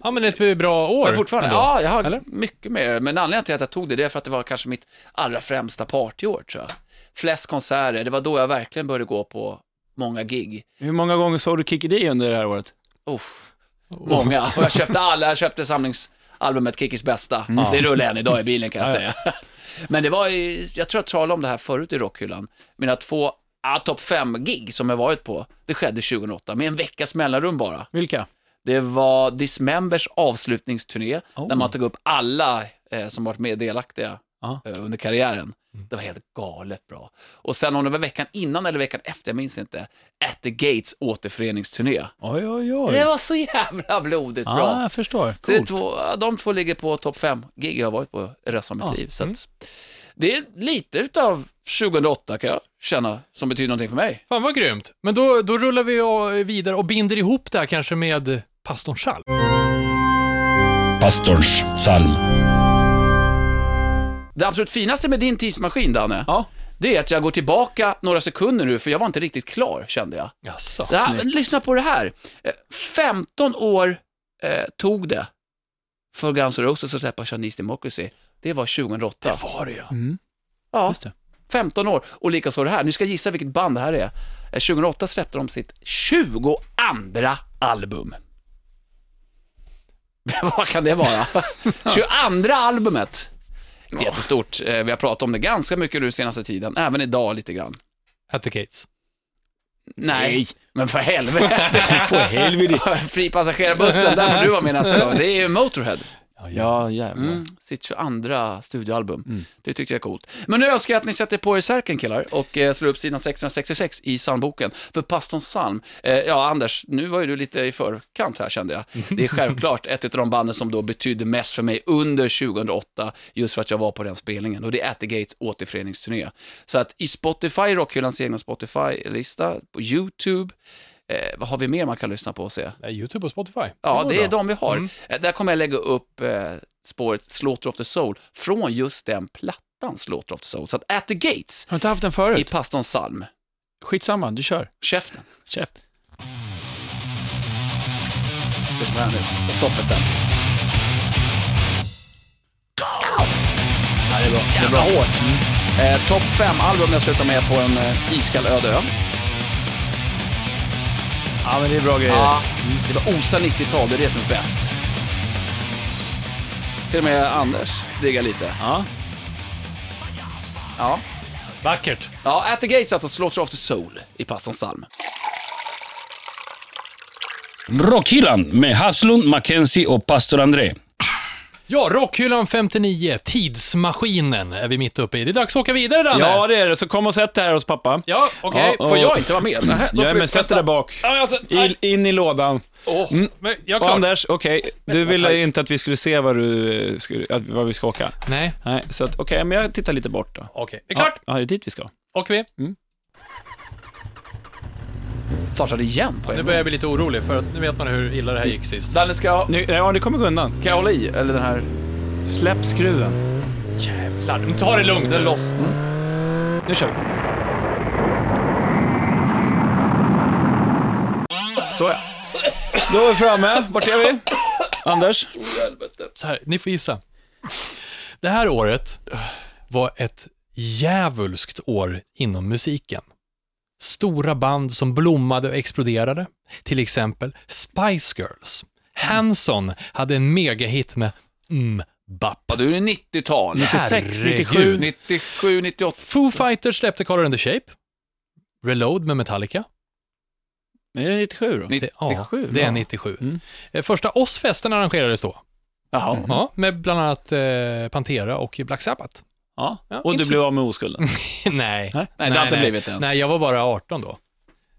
B: ja, men ett bra år.
D: men fortfarande.
B: ändå.
D: Ja, jag har
B: Eller?
D: mycket mer, men anledningen till att jag tog det, det är för att det var kanske mitt allra främsta partyår, tror jag. Flest konserter, det var då jag verkligen började gå på många gig.
C: Hur många gånger såg du Kikki D under det här året?
D: Uff,
B: Oh.
D: många. Och jag köpte alla, jag köpte samlingsalbumet Kickis bästa.
B: Mm.
D: Det rullar än idag i bilen kan jag säga. Men det var ju, jag tror jag talade om det här förut i rockhyllan. Mina två ah, topp 5-gig som jag varit på, det skedde 2008, med en veckas mellanrum bara.
C: Vilka?
D: Det var Dismembers avslutningsturné, där man tog upp alla eh, som varit med delaktiga
C: Oh. Ja. Mm.
D: eh, under karriären. Det var helt galet bra. Och sen om det var veckan innan eller veckan efter, jag minns inte, At the Gates återföreningsturné.
C: Oj, oj, oj.
D: Det var så jävla blodigt
C: Ja,
D: bra.
C: jag förstår.
D: Så det är
C: Coolt.
D: två, ja, de två ligger på topp fem gig jag har varit på resten av mitt
C: Ja, mm.
D: liv. Så att Det är lite utav 2008 kan jag känna, som betyder någonting för mig.
B: Fan vad grymt. Men då, då rullar vi eh, vidare och binder ihop det här kanske med pastorn Schall.
A: Pastorns psalm.
D: Det absolut finaste med din tidsmaskin, Danne,
C: Ja.
D: det är att jag går tillbaka några sekunder nu, för jag var inte riktigt klar, kände jag.
B: Jaså?
D: Det här,
C: Snyggt.
D: lyssna på det här. Eh, 15 år eh, tog det för Guns N' Roses att släppa Chinese Democracy. Det var 2008.
B: var det ja.
C: Mm,
D: Ja,
C: just det.
D: 15 år. Och likaså det här. Nu ska jag gissa vilket band det här är. Eh, 2008 släppte de sitt 22 album. Vad kan det vara? 22 albumet. Det är jättestort. Eh, Vi har pratat om det ganska mycket nu senaste tiden. Även idag lite grann.
B: At the Gates.
D: Nej,
C: Nej.
D: men för helvete.
C: För helvete.
D: Fripassagerarbussen, där får du vara med nästa gång. Det är ju Motorhead.
C: Ja, jävlar.
D: Mm. Sitt 22 studioalbum. Det tyckte jag är coolt. Men nu önskar jag att ni sätter på er särken killar och eh, slår upp sidan 666 i psalmboken. För pastorns psalm, eh, ja Anders, nu var ju du lite i förkant här kände jag. Det är självklart ett av de banden som då betydde mest för mig under 2008, just för att jag var på den spelningen. Och det är At the Gates återföreningsturné. Så att i Spotify, Rockhyllans egna Spotify-lista, på YouTube, eh, vad har vi mer man kan lyssna på och se?
B: Det är YouTube och Spotify.
D: Ja,
B: går
D: det är
B: bra.
D: de vi har.
B: Mm.
D: Eh, Där kommer jag lägga upp eh, spåret Slaughter of the Soul från just den plattan Slaughter of the Soul. Så att At the Gates
C: Har du inte haft den
D: i
C: förut?
D: pastorns psalm.
C: Skitsamma, du kör.
D: Käften.
C: Chef.
D: Lyssna på det här nu. Och stoppet sen. Ja, det är bra. Det är bra hårt. Eh, Topp 5-album jag slutar med på en eh, iskall öde ö.
C: Ja, men det är bra grejer.
D: Ja, det var OSA 90-tal, det är det som är bäst. Till och med Anders diggar lite.
C: Ja.
D: Ja.
B: Vackert.
D: Ja, At the Gates alltså, Slaughter of the Soul i pastorns psalm.
A: Rockhyllan med Haslund, Mackenzie och pastor André.
B: Ja, Rockhyllan 59, Tidsmaskinen, är vi mitt uppe i. Det är dags att åka vidare, Danne.
C: Ja, det är det. Så kom och sätt dig här hos pappa.
B: ja okej.
C: Ja,
D: Får
C: och-
D: jag inte vara med? Nähä, då
C: Mm. Ja,
D: får vi-
C: men sätt dig där
D: vänta.
C: bak.
D: Ja, alltså, aj.
C: I, in i lådan.
D: Åh,
B: Men jag är
C: Och
B: klar.
C: Anders, okej, du
D: vad
C: ville
D: tajt.
C: inte att vi skulle se var, du, eh, skulle, att, var vi ska åka.
B: Nej,
C: Nej, så att, okej, men jag tittar lite bort då.
B: okej. Det är klart.
C: Ja, ja, det är dit vi ska.
B: Åker vi.
D: startade igen på
B: Nu
D: en
B: börjar
D: gång.
B: jag bli lite orolig, för att nu vet man hur illa det här gick sist.
D: Danne, ska jag,
C: Nu, ja, det kommer gå undan.
D: kan jag hålla i? Eller den här...
C: Släpp skruven.
B: Jävlar, men ta det lugnt
D: Den
B: nu.
D: loss.
C: Nu kör vi. Så ja. Då är vi framme. Vart är vi? Anders?
B: Så här, ni får gissa. Det här året eh, var ett djävulskt år inom musiken. Stora band som blommade och exploderade, till exempel Spice Girls. Hanson hade en megahit med mm, Bapp.
D: Ja, du är 90-tal.
C: Mm. 96,
B: Herregud.
C: 97.
D: 97, 98.
B: Foo Fighters släppte Color and the Shape. Reload med Metallica.
C: Är det 97 då?
B: Det,
D: 97?
B: ja, det är
D: ja.
B: 97.
C: Mm. Mhm.
B: Eh, Första Ozzfesten arrangerades då,
D: Jaha.
B: ja, med bland annat eh, Pantera och Black Sabbath.
C: Ja.
B: Ja,
C: Och du
B: inte
C: blev av med oskulden?
B: nej.
C: Nej.
D: Nej, det har inte
B: nej.
D: blivit än.
B: Nej, jag var bara 18 då.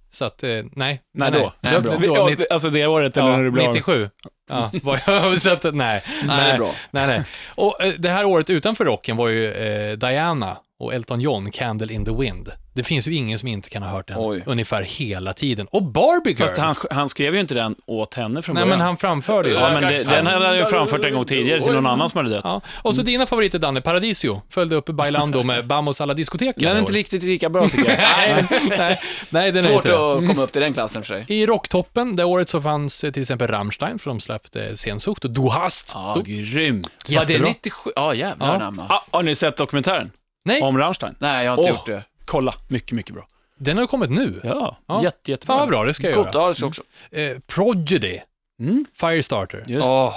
B: Så att, eh, nej.
C: När då?
D: Nej, bra.
B: Då, då,
C: Ja,
B: nitt-
C: alltså det året eller
B: ja,
C: när du blev av med?
B: 97. Ja, var jag, så att, nej.
D: Nej, det är bra.
B: Nej, nej. Och eh, det här året utanför rocken var ju eh, Diana och Elton John, Candle in the Wind. Det finns ju ingen som inte kan ha hört den
D: Oj.
B: ungefär hela tiden. Och Barbie Girl!
C: Fast han, han skrev ju inte den åt henne från
B: nej,
C: början.
B: men han framförde ju
C: Ja,
B: den.
C: men det, den hade han ju framfört en gång tidigare till någon annan som hade dött.
B: Ja. Och så dina favoriter, Danne, Paradiso, följde upp Bailando med Vamos alla diskoteken.
C: Den är inte
B: i år.
C: riktigt lika bra tycker jag.
B: Nej, nej, nej, den är
D: Svårt
B: inte det. Mm.
D: att komma upp till den klassen för sig.
B: I rocktoppen det året så fanns eh, till exempel Rammstein, för de släppte Sensucht och Du hast.
D: Ja,
B: Stort.
C: grymt.
D: Var det
B: Jättebra.
D: 97? Ja, jävlar
B: Ja.
D: anamma.
C: Ah, har ni sett dokumentären
B: Nej,
C: om Rammstein?
D: Nej, jag har inte
C: Åh.
D: gjort det.
C: Kolla, mycket, mycket bra.
B: den har kommit nu.
C: Ja,
B: Ja.
C: Jätte, jättebra.
B: Fan vad bra, det ska jag
D: Coolt,
B: göra.
D: ja, det ska jag också.
B: Eh, Prodigy,
C: Mm,
B: Firestarter.
C: just.
D: Åh,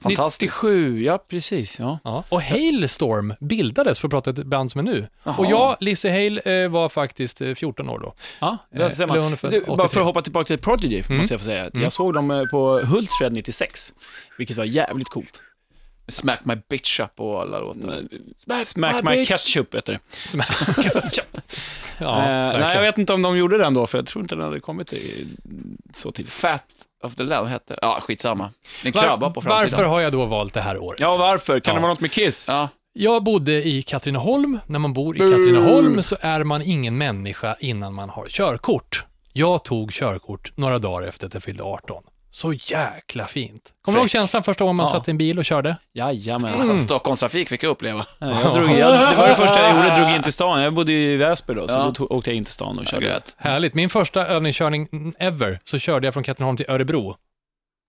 D: Fantastiskt.
C: 97, ja precis. Ja.
B: Ja. Och Hailstorm bildades, för att prata ett band som är nu.
D: Jaha.
B: Och jag, Lizzie Hale, eh, var faktiskt eh, 14 år då.
C: Ja, där
B: Eh,
C: ser
B: eller
C: man.
B: ungefär
C: Du, bara för
B: 83.
C: att hoppa tillbaka till Prodigy, måste jag få säga. att Jag såg dem eh, på Hultsfred 96, vilket var jävligt coolt.
D: Smack My Bitch Up och alla låtar.
B: Mm.
C: Smack, my,
D: my bitch.
C: ketchup heter det.
B: Som- ja,
C: eh, nej, jag
B: verkligen.
C: vet inte om de gjorde den då, för jag tror inte den hade kommit i, så tidigt.
D: Fat of the Love hette Ja, skitsamma. Det är en krabba på
B: Var,
D: framsidan.
B: varför har jag då valt det här året?
C: Ja, varför? Kan
B: Ja.
C: det vara något med Kiss?
D: Ja,
B: Jag bodde i Katrineholm. När man bor i Katrineholm så är man ingen människa innan man har körkort. Jag tog körkort några dagar efter att jag fyllde 18. Så jäkla fint. Kommer du ihåg känslan första gången man
C: Ja.
B: satt i en bil och körde?
C: Jajamän.
D: alltså, Stockholmstrafik fick jag uppleva.
C: Nej, Jag drog, jag, det var det första jag gjorde, jag drog in till stan. Jag bodde ju i Väsby då, så
D: Ja.
C: då tog, åkte jag in till stan och körde.
D: Gröt.
B: Härligt. Min första övningskörning ever så körde jag från Katrineholm till Örebro.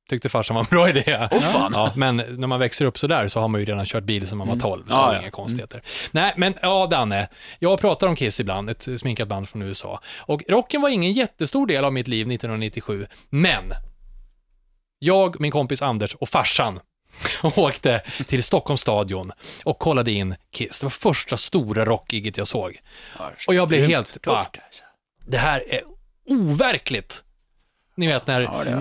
B: Tyckte farsan var en bra idé.
D: Åh fan. Mm.
B: Ja, men när man växer upp så där så har man ju redan kört bil sedan man var 12, så
D: Ja,
B: det är
D: ja.
B: inga konstigheter. Nej, men ja, Danne, jag pratar om Kiss ibland, ett sminkat band från USA. Och rocken var ingen jättestor del av mitt liv 1997, men jag, min kompis Anders och farsan åkte till Stockholms stadion och kollade in Kiss. Det var första stora rockgiget jag såg. Och jag blev helt bara,
D: Tufft alltså.
B: det här är overkligt. Ni vet när
D: Ja, det
B: eh,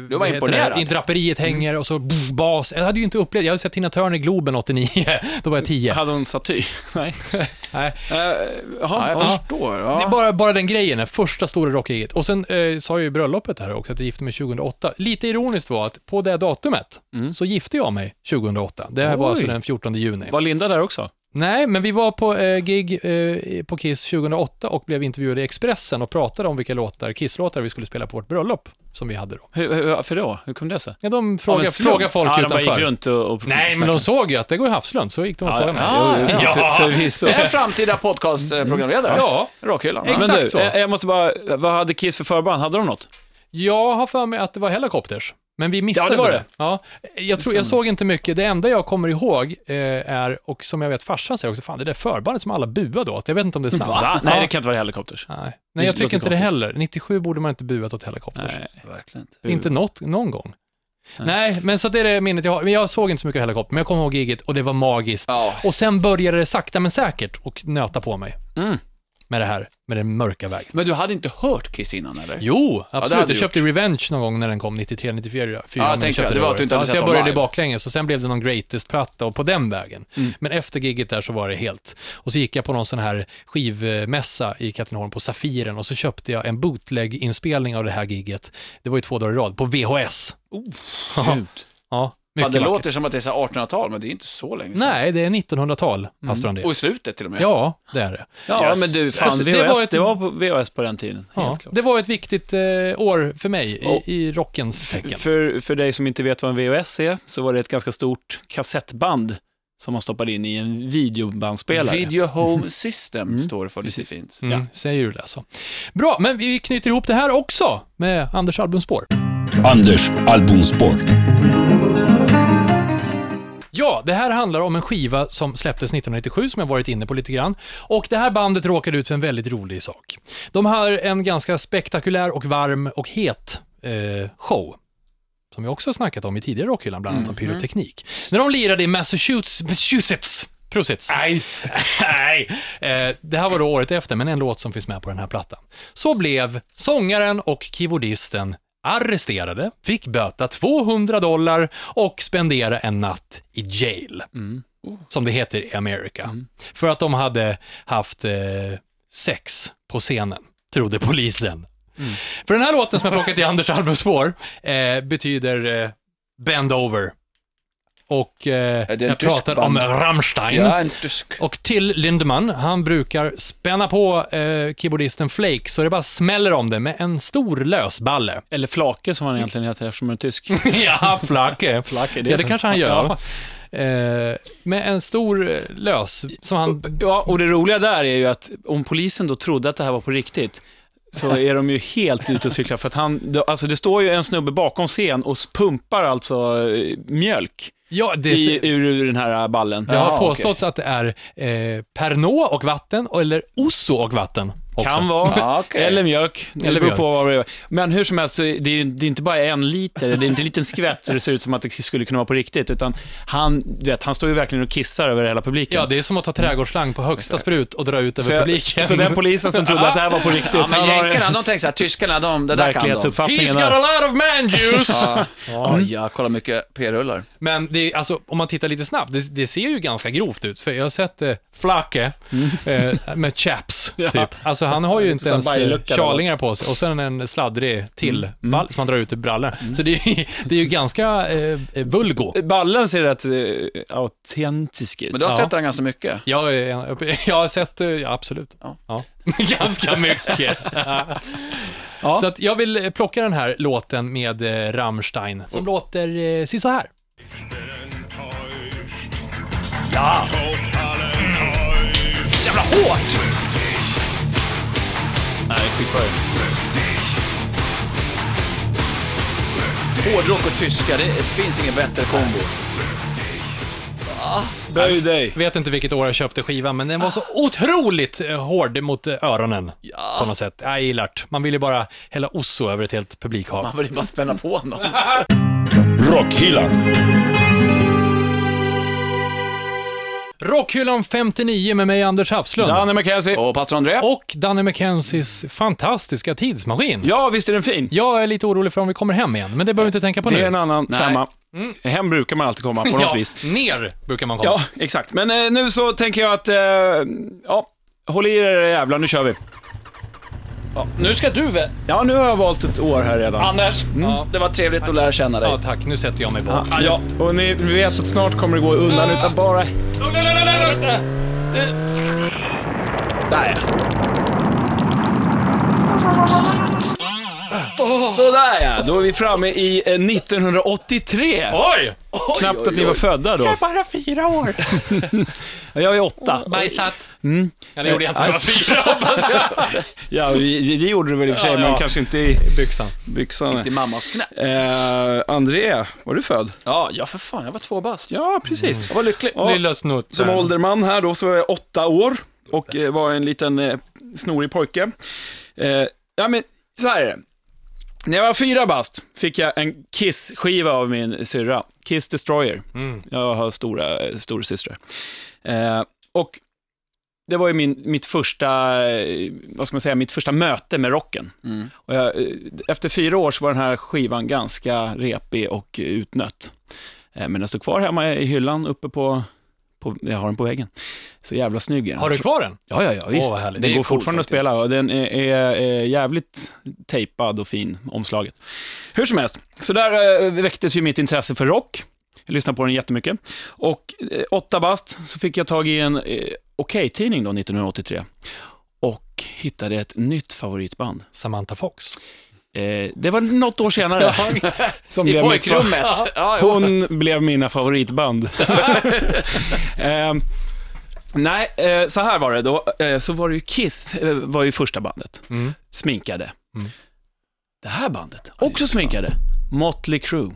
D: var-
B: du
D: var imponerad.
B: draperiet hänger och så pff, bas. Jag hade ju inte upplevt, jag hade sett Tina Turner i Globen 89, då var jag 10.
C: Hade hon satyr? Nej.
B: Nej.
C: Eh,
D: Ja,
C: jaha,
D: jag
C: ja.
D: förstår.
B: Det är
D: Ja.
B: bara, bara den grejen, det första stora rockgiget. Och sen eh, sa jag ju bröllopet här också, att jag gifte mig 2008. Lite ironiskt var att på det datumet
D: Mm.
B: så gifte jag mig 2008. Det här var
C: Oj.
B: alltså den 14 juni.
C: Var Linda där också?
B: Nej, men vi var på eh, gig eh, på Kiss 2008 och blev intervjuade i Expressen och pratade om vilka låtar, Kiss-låtar vi skulle spela på vårt bröllop som vi hade då.
C: Hur, hur, varför då? Hur kom det sig?
B: Ja, de frågar,
D: men slump.
B: frågar folk
C: ja, de bara gick
B: utanför.
C: runt och, och
B: Nej, men de såg ju att det går i Havslund, så gick de och
C: Ja,
B: frågade mig.
D: ja,
C: ja,
D: ja.
C: för- Förvisso.
D: Det är en framtida podcastprogramledare.
B: Ja.
D: Rockhyllan.
B: Exakt.
C: Men du, eh,
B: så.
C: jag jag måste bara, vad hade Kiss för förband? Hade de något?
B: Jag har för mig att det var Hellacopters, men vi missade
C: Ja, det var det.
B: Ja, jag, tror, jag såg inte mycket. Det enda jag kommer ihåg eh, är, och som jag vet farsan säger också, fan det där förbandet som alla buade åt, jag vet inte om det är sant. Ja.
C: Nej, det kan inte vara Hellacopters.
B: Nej. Nej, jag
C: Det
B: tycker
C: låter
B: inte det
C: konstigt.
B: heller. 97 borde man inte buat åt Hellacopters.
C: Nej.
D: Verkligen inte.
B: Inte något, någon gång. Nej, men så det är det minnet jag har. Men jag såg inte så mycket helikopter, men jag kommer ihåg giget och det var magiskt.
D: Ja.
B: Och sen började det sakta men säkert och nöta på mig.
C: Mm.
B: Med det här, med den mörka vägen.
D: Men du hade inte hört Kiss innan eller?
B: Jo,
D: det
B: absolut.
D: hade
B: jag
D: du
B: köpte Revenge någon gång när den kom, 93, 94.
D: Ja, jag tänkte det. Det var att du inte hade
B: så
D: sett
B: Alltså, jag
D: dem
B: började
D: live.
B: baklänges och sen blev det någon greatest-platta och på den vägen.
D: Mm.
B: Men efter giget där så var det helt. Och så gick jag på någon sån här skivmässa i Katrineholm på Safiren och så köpte jag en bootleg-inspelning av det här giget. Det var ju två dagar i rad, på VHS.
C: Gud.
B: Ja,
D: Fan,
B: mycket
D: det
B: vackert.
D: låter som att det är så här 1800-tal, men det är inte så länge sedan.
B: Nej, det är 1900-tal, pastor André.
D: Och i slutet till och med.
B: Ja, det är det.
C: Ja,
D: Yes.
C: men du, fan,
B: Så
C: VHS,
B: det
C: det
B: var
C: var,
B: ett-
C: på VHS på den tiden.
B: Ja,
C: Helt klart.
B: det var ett viktigt eh, år för mig i,
C: Och-
B: i rockens tecken.
C: För, för dig som inte vet vad en VHS är, så var det ett ganska stort kassettband som man stoppade in i en videobandspelare.
D: Video Home System står det för lite
C: Precis.
D: fint.
B: Mm, Säger du det alltså. Bra, men vi knyter ihop det här också med Anders albumspår.
A: Anders albumspår.
B: Ja, det här handlar om en skiva som släpptes 1997, som jag varit inne på lite grann. Och det här bandet råkade ut för en väldigt rolig sak. De har en ganska spektakulär och varm och het eh, show. Som vi också har snackat om i tidigare Rockhyllan, bland annat om pyroteknik. När de lirade i Massachusetts... Massachusetts Prosits. Nej. Nej. Eh, det här var då året efter, men en låt som finns med på den här plattan. Så blev sångaren och keyboardisten arresterade, fick böta 200 dollar och spendera en natt i jail. Som det heter i Amerika.
D: Mm.
B: För att de hade haft eh, sex på scenen, trodde polisen.
D: Mm.
B: För den här låten som jag plockat i Anders albumspår eh, betyder eh, Bend over. Och eh,
D: Är det en
B: jag
D: tysk
B: pratar om
D: band?
B: Rammstein.
D: Jag är en tysk.
B: Och till Lindemann, han brukar spänna på eh, keyboardisten Flake så det bara smäller om det med en stor lösballe.
C: Eller Flake som han egentligen heter eftersom han är tysk.
B: ja, Flake.
C: Flake,
B: Ja, det
C: så-
B: kanske han gör. Eh, med en stor eh, lös som han...
C: Ja, och det roliga där är ju att om polisen då trodde att det här var på riktigt, så är de ju helt ute och cyklar. För att han, det- alltså det står ju en snubbe bakom scen och pumpar alltså eh, mjölk
B: Ja, det,
C: i, ur, ur den här eh, ballen.
B: det har
D: Ja,
B: påståtts att det är eh, Pernod och vatten, eller Osso och vatten. också.
C: Kan vara.
D: Ja, okej.
C: Eller mjölk. Det
B: Eller
C: beror
B: mjölk.
C: på vad det är. Men hur som helst, så är det är ju det är inte bara en liter, det är inte en liten skvätt så det ser ut som att det skulle kunna vara på riktigt, utan han, du vet, han står ju verkligen och kissar över hela publiken.
B: Ja, det är som att ta trädgårdsslang på högsta sprut och dra ut över
C: så, jag,
B: publiken.
C: så den polisen som trodde att det här var på riktigt,
D: Ja, men
C: han har
D: jänkarna, de tänker så här, tyskarna, de, det där kan de.
B: He's
C: verklighetsuppfattningen.
B: got a lot of man juice!
D: Ja, Oj, ja, kolla mycket p-rullar.
B: Men det, är- alltså, om man tittar lite snabbt, det, det ser ju ganska grovt ut. För jag har sett eh, Flacke
C: Mm.
B: eh, med chaps, typ. Alltså han har ju inte
C: Sån
B: ens eh,
C: bajlucka då. Mm.
B: charlingar på sig och sen en sladdrig till ball som han drar ut i brallorna. Så det är, ju- det är ju ganska eh, vulgo.
C: Ballen ser rätt eh, autentisk ut.
D: Men du har
B: Ja.
D: sett den ganska mycket.
B: Jag, är- jag, jag har sett, eh, ja, absolut.
D: Ja.
B: Ja. Ganska mycket. Så att jag vill eh, plocka den här låten med eh, Rammstein,
C: Mm.
B: som låter eh, se så här.
E: enttäuscht. Ja. Total enttäuscht.
D: Jävla hårt!
C: Nej, skitbra ju.
D: Hårdrock och tyska, det finns ingen bättre kombo.
C: Böj dig.
B: Vet inte vilket år jag köpte skivan, men den var så otroligt eh, hård mot eh, öronen. På något sätt. Jag gillar det. Man vill ju bara hälla osso över ett helt publikhav.
D: Man vill ju bara spänna på någon.
A: Rockhyllan.
B: Rockhyllan 59 med mig, Anders Hafslund.
C: Danne McKenzie.
D: Och pastor André?
B: Och Danne McKenzies fantastiska tidsmaskin.
C: Ja, visst är den fin?
B: Jag är lite orolig för om vi kommer hem igen, men det behöver vi inte tänka på
C: Det
B: nu.
C: är en annan
D: Nej.
C: femma. Hem brukar man alltid komma på något vis.
B: ja, ner brukar man komma.
C: Ja, exakt. Men eh, nu så tänker jag att, eh, ja, håll i er era jävlar, nu kör vi.
D: Nu ska du vä-
C: Ja, nu har jag valt ett år här redan.
D: Anders, det var trevligt att lära känna dig.
B: Ja, tack. Nu sätter jag mig på.
C: Ah, ja. Och ni vet att snart kommer det gå undan utan bara...
D: Där
C: Ah.
D: ja. Sådär ja.
C: Då är vi framme i eh, 1983.
B: Oj!
C: Knappt att ni var födda då.
B: Bara fyra år.
C: Ja, Jag är åtta.
B: Mm. Bajsat. Ja, det gjorde jag inte.
C: Nej,
B: Jag var fyra
C: Ja, vi, vi gjorde det väl i och för sig,
B: Ja,
C: men
B: ja.
C: kanske inte i
B: i byxan.
C: byxan.
D: Till mammas knä.
C: Eh, André, var du född?
D: Ja, ja för fan, jag var två bast.
C: Ja, precis.
D: Jag var lycklig.
C: Ja.
B: Lilla Mm. snutt.
C: Som ålderman här då så var jag åtta år och eh, var en liten eh, snorig pojke. Eh, ja men så här är det. När jag var fyra bast fick jag en Kiss-skiva av min syrra. Kiss Destroyer.
B: Mm.
C: Jag har stora eh, storasystrar. Eh, och det var ju min, mitt första, eh, vad ska man säga, mitt första möte med rocken.
B: Mm.
C: Och jag, eh, efter fyra år så var den här skivan ganska repig och utnött. Eh, men den stod kvar hemma i hyllan uppe på, på jag har den på väggen. Så jävla snygg är den.
B: Har du kvar den?
C: Ja, ja, ja, visst.
B: vad härligt.
C: den
D: Det är
C: går
D: ju coolt
C: fortfarande
D: faktiskt.
C: att spela och den är, är, är jävligt tejpad och fin, omslaget. Hur som helst, så där eh, väcktes ju mitt intresse för rock. Jag lyssnade på den jättemycket. Och eh, åtta bast så fick jag tag i en eh, Okej-tidning då, 1983. Och hittade ett nytt favoritband.
B: Samantha Fox.
C: Eh, det var något år senare. som
D: I
C: blev mitt fa-
D: pojkrummet. Ja, ja.
C: hon blev mina favoritband. Ehm, nej, eh, så här var det då. Eh, så var det ju Kiss, eh, var ju första bandet. Sminkade. Det här bandet, också sminkade. Motley Crue.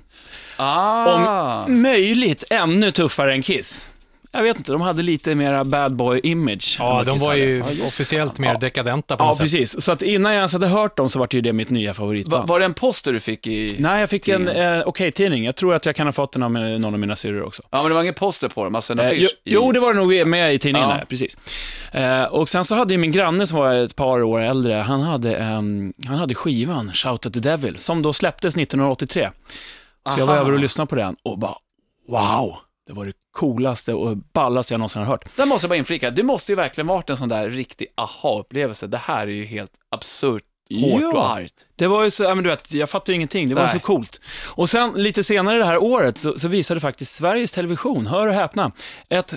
D: Ah.
C: Möjligt ännu tuffare än Kiss. Jag vet inte, de hade lite mera bad boy-image. än
B: Ja,
C: vad
B: de
C: Kiss
B: var
C: hade.
B: ju officiellt mer dekadenta på
C: Ja,
B: något sätt.
C: precis. Så att innan jag ens hade hört dem så var det ju det mitt nya
D: Va,
C: favoritband.
D: var det en poster du fick i...
C: Nej, jag fick en eh, Okej-tidning. Jag tror att jag kan ha fått den av eh, någon av mina syrror också.
D: Ja, men det var ingen poster på dem, alltså en
C: Eh,
D: affisch.
C: jo, jo, det var det nog med i tidningen,
D: Ja.
C: där, precis. Eh, och sen så hade ju min granne som var ett par år äldre, han hade, ehm, han hade skivan Shout at the Devil, som då släpptes 1983. Så jag var
D: Aha.
C: över och lyssnade på den och bara, wow, det var det coolaste och ballaste jag någonsin har hört.
D: Där måste jag bara inflika, det måste ju verkligen varit en sån där riktig aha-upplevelse. Det här är ju helt absurt hårt
C: Ja.
D: och argt.
C: Det var ju så, ja, men du vet, jag fattade ju ingenting, det var
D: Nej.
C: så coolt. Och sen lite senare det här året så, så visade faktiskt Sveriges Television, hör och häpna, ett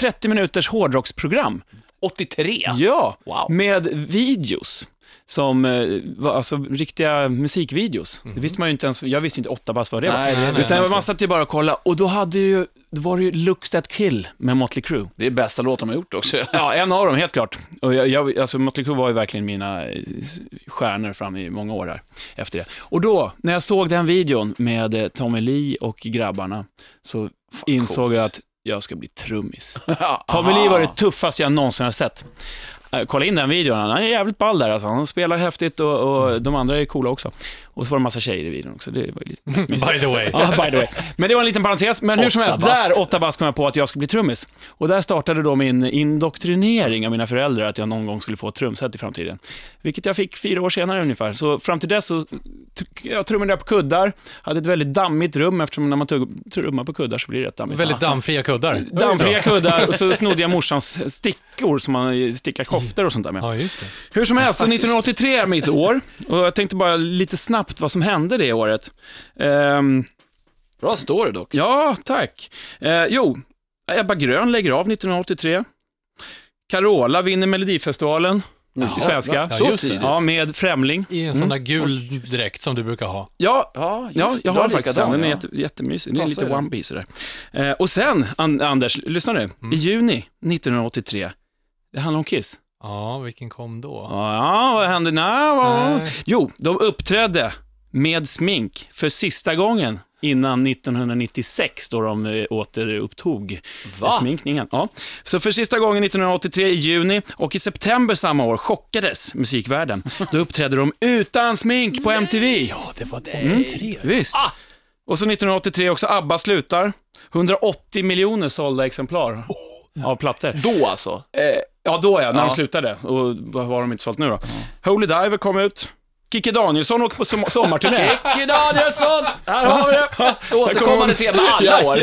C: 30 minuters hårdrocksprogram
D: 83?
C: Ja,
D: Wow.
C: med videos. Som eh, var alltså riktiga musikvideos. Det visste man ju inte ens, jag visste ju inte åtta bast vad det
D: Nej,
C: var.
D: nej, nej,
C: Utan man satt ju bara och kollade och då hade ju, då var det ju Looks That Kill med Motley Crue.
D: Det är bästa låten de har gjort också.
C: Ja, en av dem helt klart. Och jag, jag, alltså Motley Crue var ju verkligen mina eh, s- stjärnor fram i många år här efter det. Och då, när jag såg den videon med eh, Tommy Lee och grabbarna, så insåg
D: coolt.
C: jag att jag ska bli trummis.
D: Ja,
C: Tommy
D: aha.
C: Lee var det tuffaste jag någonsin har sett. Eh, Kolla in den videon, han är jävligt ball där alltså. Han spelar häftigt och,
D: Mm.
C: och de andra är coola också. Och så var det en massa tjejer i videon också, det var ju lite mysigt.
B: By the way.
C: Ja, by the way. Men det var en liten parentes. Men hur som helst, där, åtta bast, kom jag på att jag skulle bli trummis. Och där startade då min indoktrinering av mina föräldrar att jag någon gång skulle få ett trumset i framtiden. Vilket jag fick fyra år senare ungefär. Så fram till dess så tr- jag trummade jag på kuddar, hade ett väldigt dammigt rum eftersom när man tugg- trummar på kuddar så blir det rätt dammigt.
B: Väldigt dammfria kuddar.
C: Dammfria kuddar och så snodde jag morsans stickor, som man stickar koftor och sånt där med.
B: Ja, just det.
C: Hur som helst, så 1983 är mitt år. Och jag tänkte bara lite snabbt vad som hände det året. Ehm,
D: Bra story dock.
C: Ja, tack. Eh, jo, Ebba Grön lägger av 1983. Carola vinner Melodifestivalen i svenska.
B: Ja,
D: Så
B: just det.
D: tidigt.
C: Ja, med Främling.
B: I en sån
C: Mm.
B: där gul dräkt som du brukar ha.
C: Ja,
D: Ja, just,
C: ja
D: det.
C: jag
D: Du
C: har faktiskt den.
D: likadan,
C: Den är
D: ja.
C: jätte, jättemysig. Det är
D: Passar
C: lite
D: ju den.
C: One Piece där. Eh, och sen, An- Anders, lyssna nu.
D: Mm.
C: I juni 1983, det handlar om Kiss.
B: Ja, vilken kom då?
C: Ja, vad hände? Nej, vad...
B: Nej.
C: Jo, de uppträdde med smink för sista gången innan 1996 då de eh, återupptog
D: Va?
C: sminkningen. Ja. Så för sista gången 1983 i juni och i september samma år chockades musikvärlden. Då uppträdde de utan smink på MTV.
B: Ja, det Ah! var 83.
C: Mm, Visst. Och så 1983 också, ABBA slutar. 180 miljoner sålda exemplar av plattor.
D: Då alltså?
C: Ja, då ja, när
D: Ja.
C: de slutade. Och vad har de inte sålt nu då? Holy Diver kom ut. Kikki Danielsson åker på som- sommarturné.
D: Kikki Danielsson! Här har vi det! Återkommande tema alla år.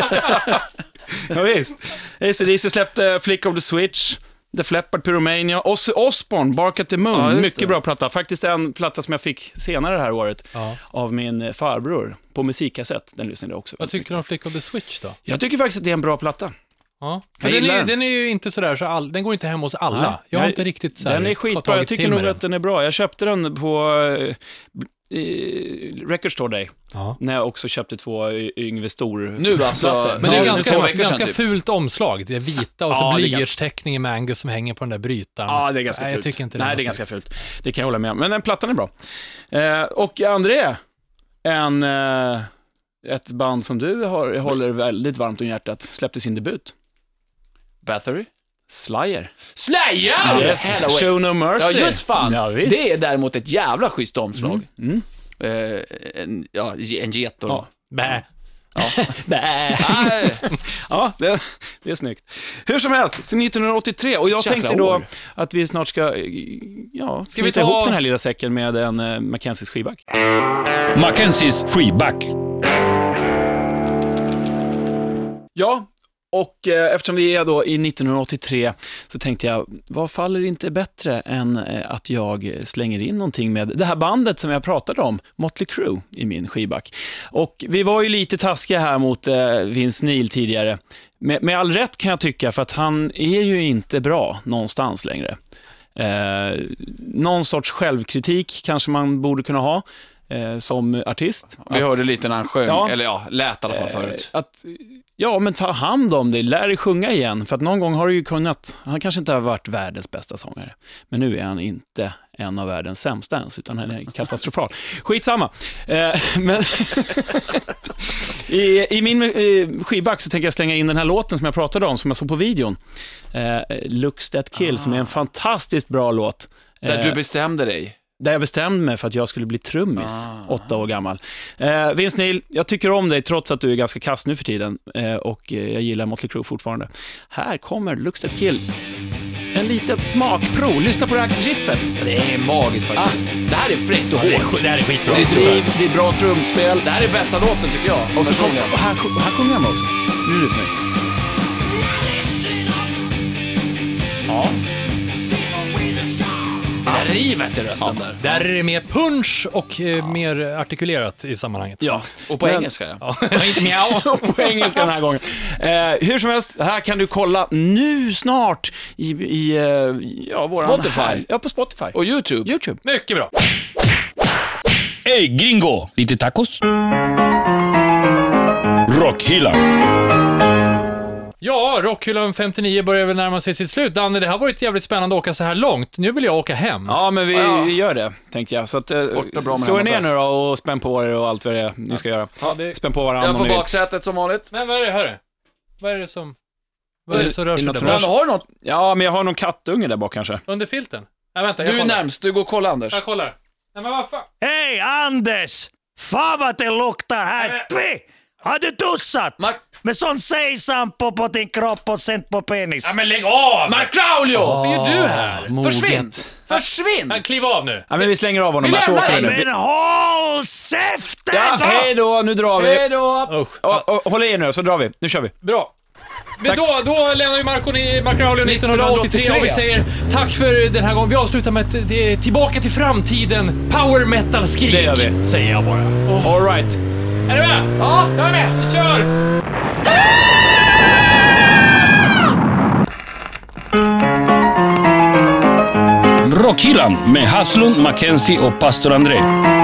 C: ja, visst. AC/DC släppte Flick of the Switch, The Fleppard Pyromania, Ozzy Osbourne, Bark at the Moon.
D: Ja, just
C: Mycket
D: det.
C: bra platta. Faktiskt en platta som jag fick senare det här året av min farbror på musikkassett. Den lyssnade jag också.
B: Vad tyckte du om Flick of the Switch då?
C: Jag tycker faktiskt att det är en bra platta.
B: Ja.
C: Jag
B: Den, är,
C: gillar
B: ju-
C: den.
B: den är ju inte sådär, så all, den går inte hem hos alla.
C: Nej.
B: jag har
C: Nej,
B: inte riktigt så här,
C: Den är skitbra. Jag
B: tagit
C: tycker
B: till mig
C: nog att den är bra. Jag köpte den på eh, eh, Record Store Day.
B: Ja.
C: När jag också köpte två y- Yngve Stor.
D: Nu alltså.
B: Men det är
D: Ja,
B: ganska,
D: två veckor sedan,
B: ganska
D: typ.
B: fult omslag. Det är vita och så
C: Ja, det är ganska-
B: blyertsteckningen med Angus som hänger på den där brytan.
C: Ja, det är ganska
B: Nej, jag
C: fult.
B: tycker inte det
C: Nej,
B: var
C: det är ganska
B: snyggt.
C: fult. Det kan jag hålla med om. Men den plattan är bra. Eh, och André, en, eh, ett band som du har, håller väldigt varmt om hjärtat, släppte sin debut.
D: Bathory?
C: Slayer.
D: Slayer! Hello, wait.
C: Show No
D: Ja,
C: Mercy.
D: just fan.
C: Ja, visst.
D: Det är däremot ett jävla schysst omslag. Eh, en, ja, ge- en get och...
C: Ja.
B: Bä.
D: Nej.
C: Ja, det, det är snyggt. Hur som helst, sen 1983. Och jag
D: Jäkla
C: tänkte då
D: år.
C: att vi snart ska, eh, ja, ska vi ta ihop den här lilla säcken med en eh, Mackenzies skivback.
A: Mackenzies freeback.
C: Ja, och eh, eftersom vi är då i 1983 så tänkte jag, vad faller inte bättre än eh, att jag slänger in någonting med det här bandet som jag pratade om, Motley Crue, i min skivback. Och vi var ju lite taskiga här mot eh, Vince Neil tidigare. Med, med all rätt kan jag tycka, för att han är ju inte bra någonstans längre. Eh, någon sorts självkritik kanske man borde kunna ha eh, som artist.
D: Vi hörde lite när han sjöng,
C: Ja.
D: eller ja, Eh, lät i alla fall förut.
C: Eh, Att, ja, men ta hand om dig, lär dig sjunga igen. För att någon gång har du ju kunnat, han kanske inte har varit världens bästa sångare, men nu är han inte en av världens sämsta ens, utan han är katastrofal. Skitsamma. Eh, men I, I min eh, skivback så tänker jag slänga in den här låten som jag pratade om, som jag såg på videon. Eh, Looks That Kill, som är en fantastiskt bra låt.
D: Där
C: Eh,
D: du bestämde dig.
C: där jag bestämde mig för att jag skulle bli trummis,
D: Ah.
C: åtta år gammal. Eh, Vince Neil, jag tycker om dig trots att du är ganska kass nu för tiden eh, och eh, jag gillar Motley Crue fortfarande. Här kommer Looks That Kill. En litet smakprov. Lyssna på det här riffet. Ah,
D: Det är magiskt faktiskt. Det här är fräckt och hårt.
C: Det här är skitbra.
D: Ah, Det är driv, det är bra trumspel. Det här är bästa låten tycker jag.
C: Och, så kom,
D: personligen.
C: och här, sj- här sjunger han också. Nu lyssnar vi.
D: Det här rivet i rösten där.
B: Där är det mer punch och eh, mer artikulerat i sammanhanget.
C: Ja.
D: Och på
C: Men-
D: engelska ja.
B: Och inte mjau.
C: på engelska den här gången. Eh, hur som helst, här kan du kolla nu snart i, i eh, ja, våran
D: Spotify.
C: ja, på Spotify.
D: Och YouTube.
C: YouTube.
B: Mycket bra.
A: Ey gringo, lite tacos? Rockhyllan.
B: Ja, Rockhyllan 59 börjar väl närma sig sitt slut. Danne, det har varit jävligt spännande att åka så här långt. Nu vill jag åka hem.
C: Ja, men vi
D: Ja.
C: vi gör det, tänker jag. Så att, eh,
D: Borta bra med
C: slå er ner
D: hemma
C: nu
D: bäst.
C: då och spänn på er och allt vad det är ni ska göra.
B: Ja, det-
C: Spänn på varandra
D: Jag
C: om
D: får
C: ni vill.
D: baksätet som vanligt.
B: Men vad är det, hörru? Vad är det som... Vad är det som rör sig
C: något
B: där
C: som
B: bak?
C: rör
D: Danne,
C: sig?
D: har du något?
C: Ja, men jag har någon kattunge där bak kanske.
B: Under filten? Nej, vänta, jag
D: Du är
B: kollar.
D: närmst, du går och kollar Anders.
B: Jag kollar. Nej, men vad fan?
E: Hej Anders! Fan vad det luktar här! Py! Äh, Har du duschat?
D: Mark,
E: Med sån sejsampo på din kropp och sen på penis.
B: Nej, men lägg av!
D: Mark Raulio!
B: Vad gör du här?
D: Försvinn! Försvinn!
B: Men kliv av nu.
C: Ja, men vi slänger av honom
D: Vi
C: här så
D: lämnar
C: åker vi
D: dig.
C: nu.
E: Men håll käften!
C: Ja,
E: så!
C: hej då, nu drar vi.
D: Hej då!
B: Usch.
C: Och, och, håll i er nu, så drar vi. Nu kör vi.
B: Bra. Men då, då lämnar vi Marco ni- Marco Raulio 1983 och vi säger tack för den här gången. Vi avslutar med ett, det är Tillbaka till framtiden, power metal-skrik.
C: Det gör vi.
B: Säger jag bara.
C: All right.
B: Är du med?
D: Ja, jag är med!
B: Vi kör!
A: Rockhyllan med Haslund, Mackenzie och pastor André.